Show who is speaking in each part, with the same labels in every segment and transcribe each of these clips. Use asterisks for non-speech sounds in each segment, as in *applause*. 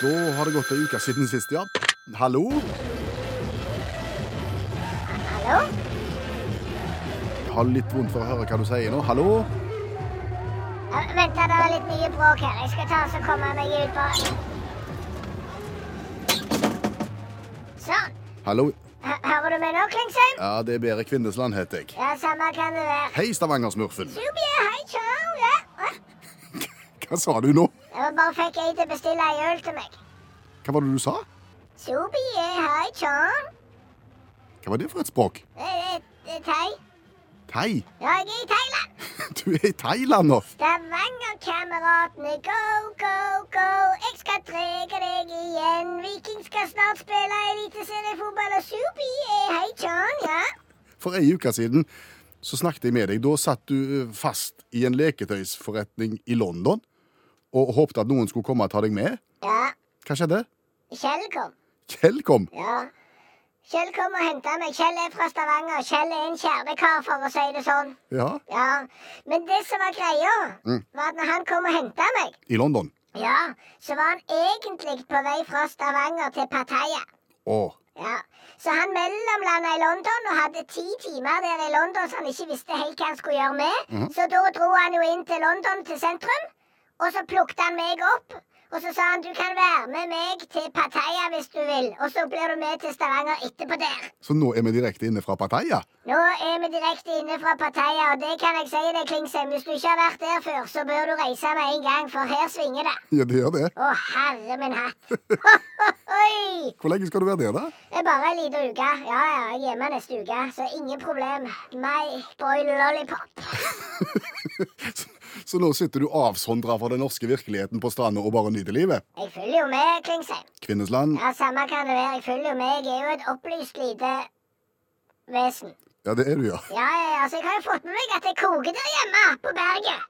Speaker 1: Da har det gått ei uke siden sist, ja. Hallo?
Speaker 2: Hallo?
Speaker 1: Jeg har litt vondt for å høre hva du sier nå. Hallo?
Speaker 2: Ja, Vent, da, det er litt mye bråk her. Jeg skal ta og så komme meg ut på Sånn.
Speaker 1: Hallo?
Speaker 2: H- Hører du meg nå, Klingsheim?
Speaker 1: Ja, det er Bere Kvindesland, heter jeg.
Speaker 2: Ja, samme kan det være.
Speaker 1: Hei, Stavanger-smurfen.
Speaker 2: Subie, hei, ciao. Ja. Å,
Speaker 1: Hva sa du nå?
Speaker 2: Jeg bare fikk ei til å bestille ei øl til meg.
Speaker 1: Hva var det du sa?
Speaker 2: Subie, hei, ciao.
Speaker 1: Hva var det for et språk?
Speaker 2: Eh, eh, eh, Thai.
Speaker 1: Thai?
Speaker 2: Ja, jeg er i Thailand.
Speaker 1: *laughs* Du er i Thailand nå.
Speaker 2: Stavanger-kameratene, go, go, go. Jeg skal trege deg igjen. Viking skal snart spille eliteseriefotball, og Subi er hei John, ja.
Speaker 1: For ei uke siden så snakket jeg med deg. Da satt du eh, fast i en leketøysforretning i London og håpte at noen skulle komme og ta deg med.
Speaker 2: Ja,
Speaker 1: Hva skjedde?
Speaker 2: Kjell kom.
Speaker 1: Kjell kom.
Speaker 2: Ja. Kjell kom og henta meg. Kjell er fra Stavanger. Kjell er en kjernekar, for å si det sånn.
Speaker 1: Ja,
Speaker 2: Ja. Men det som var greia,
Speaker 1: Mm.
Speaker 2: var at når han kom og henta meg,
Speaker 1: i London.
Speaker 2: ja, så var han egentlig på vei fra Stavanger til Pattaya.
Speaker 1: Å,
Speaker 2: Ja, Så han mellomlanda i London og hadde ti timer der i London så han ikke visste helt hva han skulle gjøre med. Så da dro han jo inn til London, til sentrum, og så plukket han meg opp. Og så sa han du kan være med meg til Pattaya hvis du vil, og så blir du med til Stavanger etterpå der.
Speaker 1: så nå er vi direkte inne fra Pattaya?
Speaker 2: Nå er vi direkte inne fra Pattaya, og det kan jeg si deg, Klingsheim, hvis du ikke har vært der før, så bør du reise med en gang, for her svinger det.
Speaker 1: Ja, det gjør det.
Speaker 2: Å, herre min hatt. *laughs* Oi!
Speaker 1: Hvor lenge skal du være der, da?
Speaker 2: Det er bare ei lita uke. Ja, ja, jeg er hjemme neste uke, så ingen problem. My boy lollipop.
Speaker 1: *laughs* Så, så nå sitter du avsondra fra den norske virkeligheten på stranda og bare nyter livet?
Speaker 2: Jeg følger jo med, Klingsheim.
Speaker 1: Kvinnesland?
Speaker 2: Ja, Samme kan det være, jeg følger jo med. Jeg er jo et opplyst lite vesen.
Speaker 1: Ja, det er du, ja.
Speaker 2: Ja, ja, ja, så jeg har jo fått med meg at det koker der hjemme, på berget.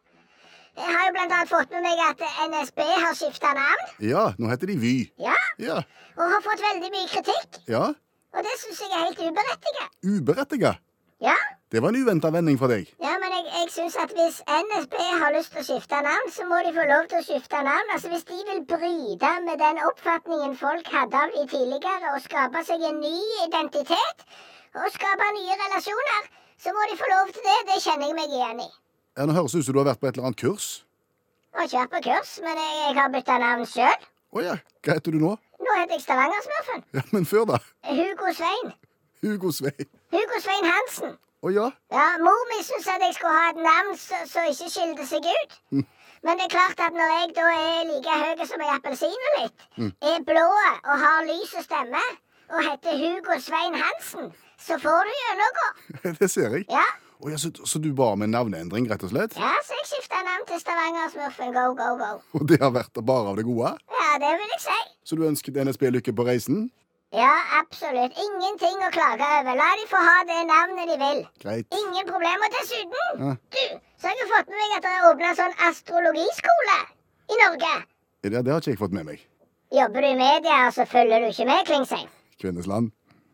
Speaker 2: Jeg har jo blant annet fått med meg at NSB har skifta navn.
Speaker 1: Ja, nå heter de Vy.
Speaker 2: Ja,
Speaker 1: Ja.
Speaker 2: og har fått veldig mye kritikk.
Speaker 1: ja.
Speaker 2: Og det syns jeg er helt uberettiget.
Speaker 1: Uberettiga.
Speaker 2: Ja,
Speaker 1: Det var en uventa vending fra deg.
Speaker 2: Ja, men jeg, jeg synes at hvis NSB har lyst til å skifte navn, så må de få lov til å skifte navn. Altså Hvis de vil bryte med den oppfatningen folk hadde av de tidligere, og skape seg en ny identitet, og skape nye relasjoner, så må de få lov til det. Det kjenner jeg meg igjen i.
Speaker 1: Ja, nå høres det ut som du har vært på et eller annet kurs.
Speaker 2: Jeg har ikke vært på kurs, men jeg, jeg har bytta navn sjøl.
Speaker 1: Å ja, hva heter du nå?
Speaker 2: Nå heter jeg Stavanger-smurfen.
Speaker 1: Ja, men før, da?
Speaker 2: Hugo Svein.
Speaker 1: Hugo Svein.
Speaker 2: Hugo Svein Hansen.
Speaker 1: Å ja. *laughs*
Speaker 2: Ja, Mor mi syntes at jeg skulle ha et navn som som ikke skilte seg ut. Men det er klart at når jeg da er like høy som ei appelsin og litt, er blå og har lys og stemme, og heter Hugo Svein Hansen, så får du gjennomgå.
Speaker 1: Det ser jeg.
Speaker 2: Ja.
Speaker 1: Å ja, så, så du ba om en navneendring, rett og slett?
Speaker 2: ja, så jeg skifta navn til Stavanger-smurfen Go Go Go.
Speaker 1: Og det har vært bare av det gode?
Speaker 2: Ja, det vil jeg si.
Speaker 1: Så du ønsket NSB lykke på reisen?
Speaker 2: Ja, absolutt. Ingenting å klage over. La de få ha det navnet de vil.
Speaker 1: Greit.
Speaker 2: Ingen problem. Og dessuten,
Speaker 1: Ja.
Speaker 2: du, så har jeg fått med meg at det er åpna sånn astrologiskole i Norge.
Speaker 1: Ja, det har ikke jeg fått med meg.
Speaker 2: Jobber du i media, og så følger du ikke med, Klingsheim?
Speaker 1: Kvinnesland.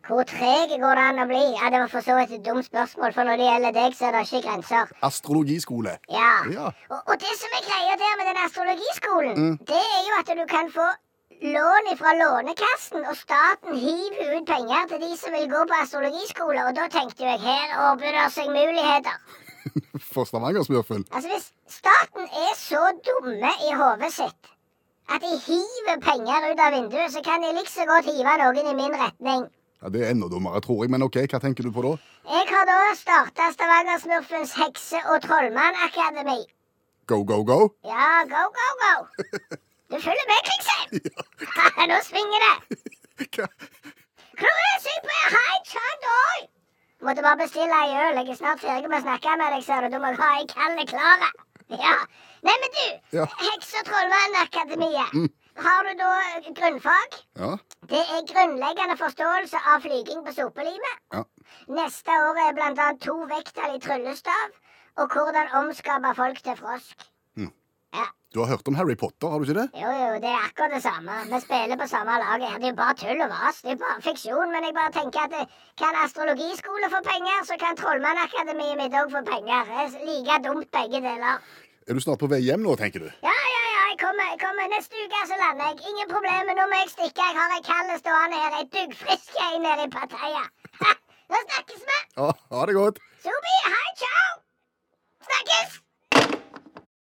Speaker 2: Hvor treg går det an å bli? Ja, Det var for så vidt et dumt spørsmål, for når det gjelder deg, så er det ikke grenser.
Speaker 1: Astrologiskole.
Speaker 2: Ja.
Speaker 1: Ja.
Speaker 2: Og, og det som er greia der med den astrologiskolen, det er jo at du kan få lån ifra Lånekassen, og staten hiver ut penger til de som vil gå på astrologiskole, og da tenkte jo jeg her åpner det seg muligheter.
Speaker 1: For Stavanger-smurfen.
Speaker 2: Altså, hvis staten er så dumme i hodet sitt at de hiver penger ut av vinduet, så kan de like så godt hive noen i min retning.
Speaker 1: Ja, det er enda dummere, tror jeg. Men OK, hva tenker du på da?
Speaker 2: Jeg har da starta Stavanger-smurfens hekse- og trollmannakademi.
Speaker 1: Go, go, go? *laughs*
Speaker 2: Ja, go, go, go! Du følger med, Klingsheim? *laughs* Nå svinger det!
Speaker 1: Hva?
Speaker 2: Kloe, syng på jeg har en chant òg! Måtte bare bestille ei øl. Jeg er snart ferdig med å snakke med deg, ser du. Du må ha ei kald klar. Ja. Neimen, du.
Speaker 1: Ja.
Speaker 2: Heks- og trollmannakademiet. Har du da grunnfag?
Speaker 1: Ja.
Speaker 2: Det er grunnleggende forståelse av flyging på sopelimet.
Speaker 1: Ja.
Speaker 2: Neste år er blant annet to vekttall i tryllestav, og hvordan omskape folk til frosk.
Speaker 1: Du har hørt om Harry Potter, har du ikke det?
Speaker 2: Jo, jo, det er akkurat det samme. Vi spiller på samme laget. her. Det er jo bare tull og vas. Det er jo bare fiksjon. Men jeg bare tenker at eh, kan astrologiskole få penger, så kan Trollmannakademiet mitt òg få penger. Det er like dumt begge deler.
Speaker 1: Er du snart på vei hjem nå, tenker du?
Speaker 2: Ja, ja, ja, jeg jeg kommer, jeg kommer neste uke, så lander jeg. Ingen problemer, nå må jeg stikke. Jeg har ei kalle stående her, *laughs* ei duggfrisk ei nede i Pattaya. nå snakkes vi.
Speaker 1: Ja, ha det godt.
Speaker 2: Sobi, ha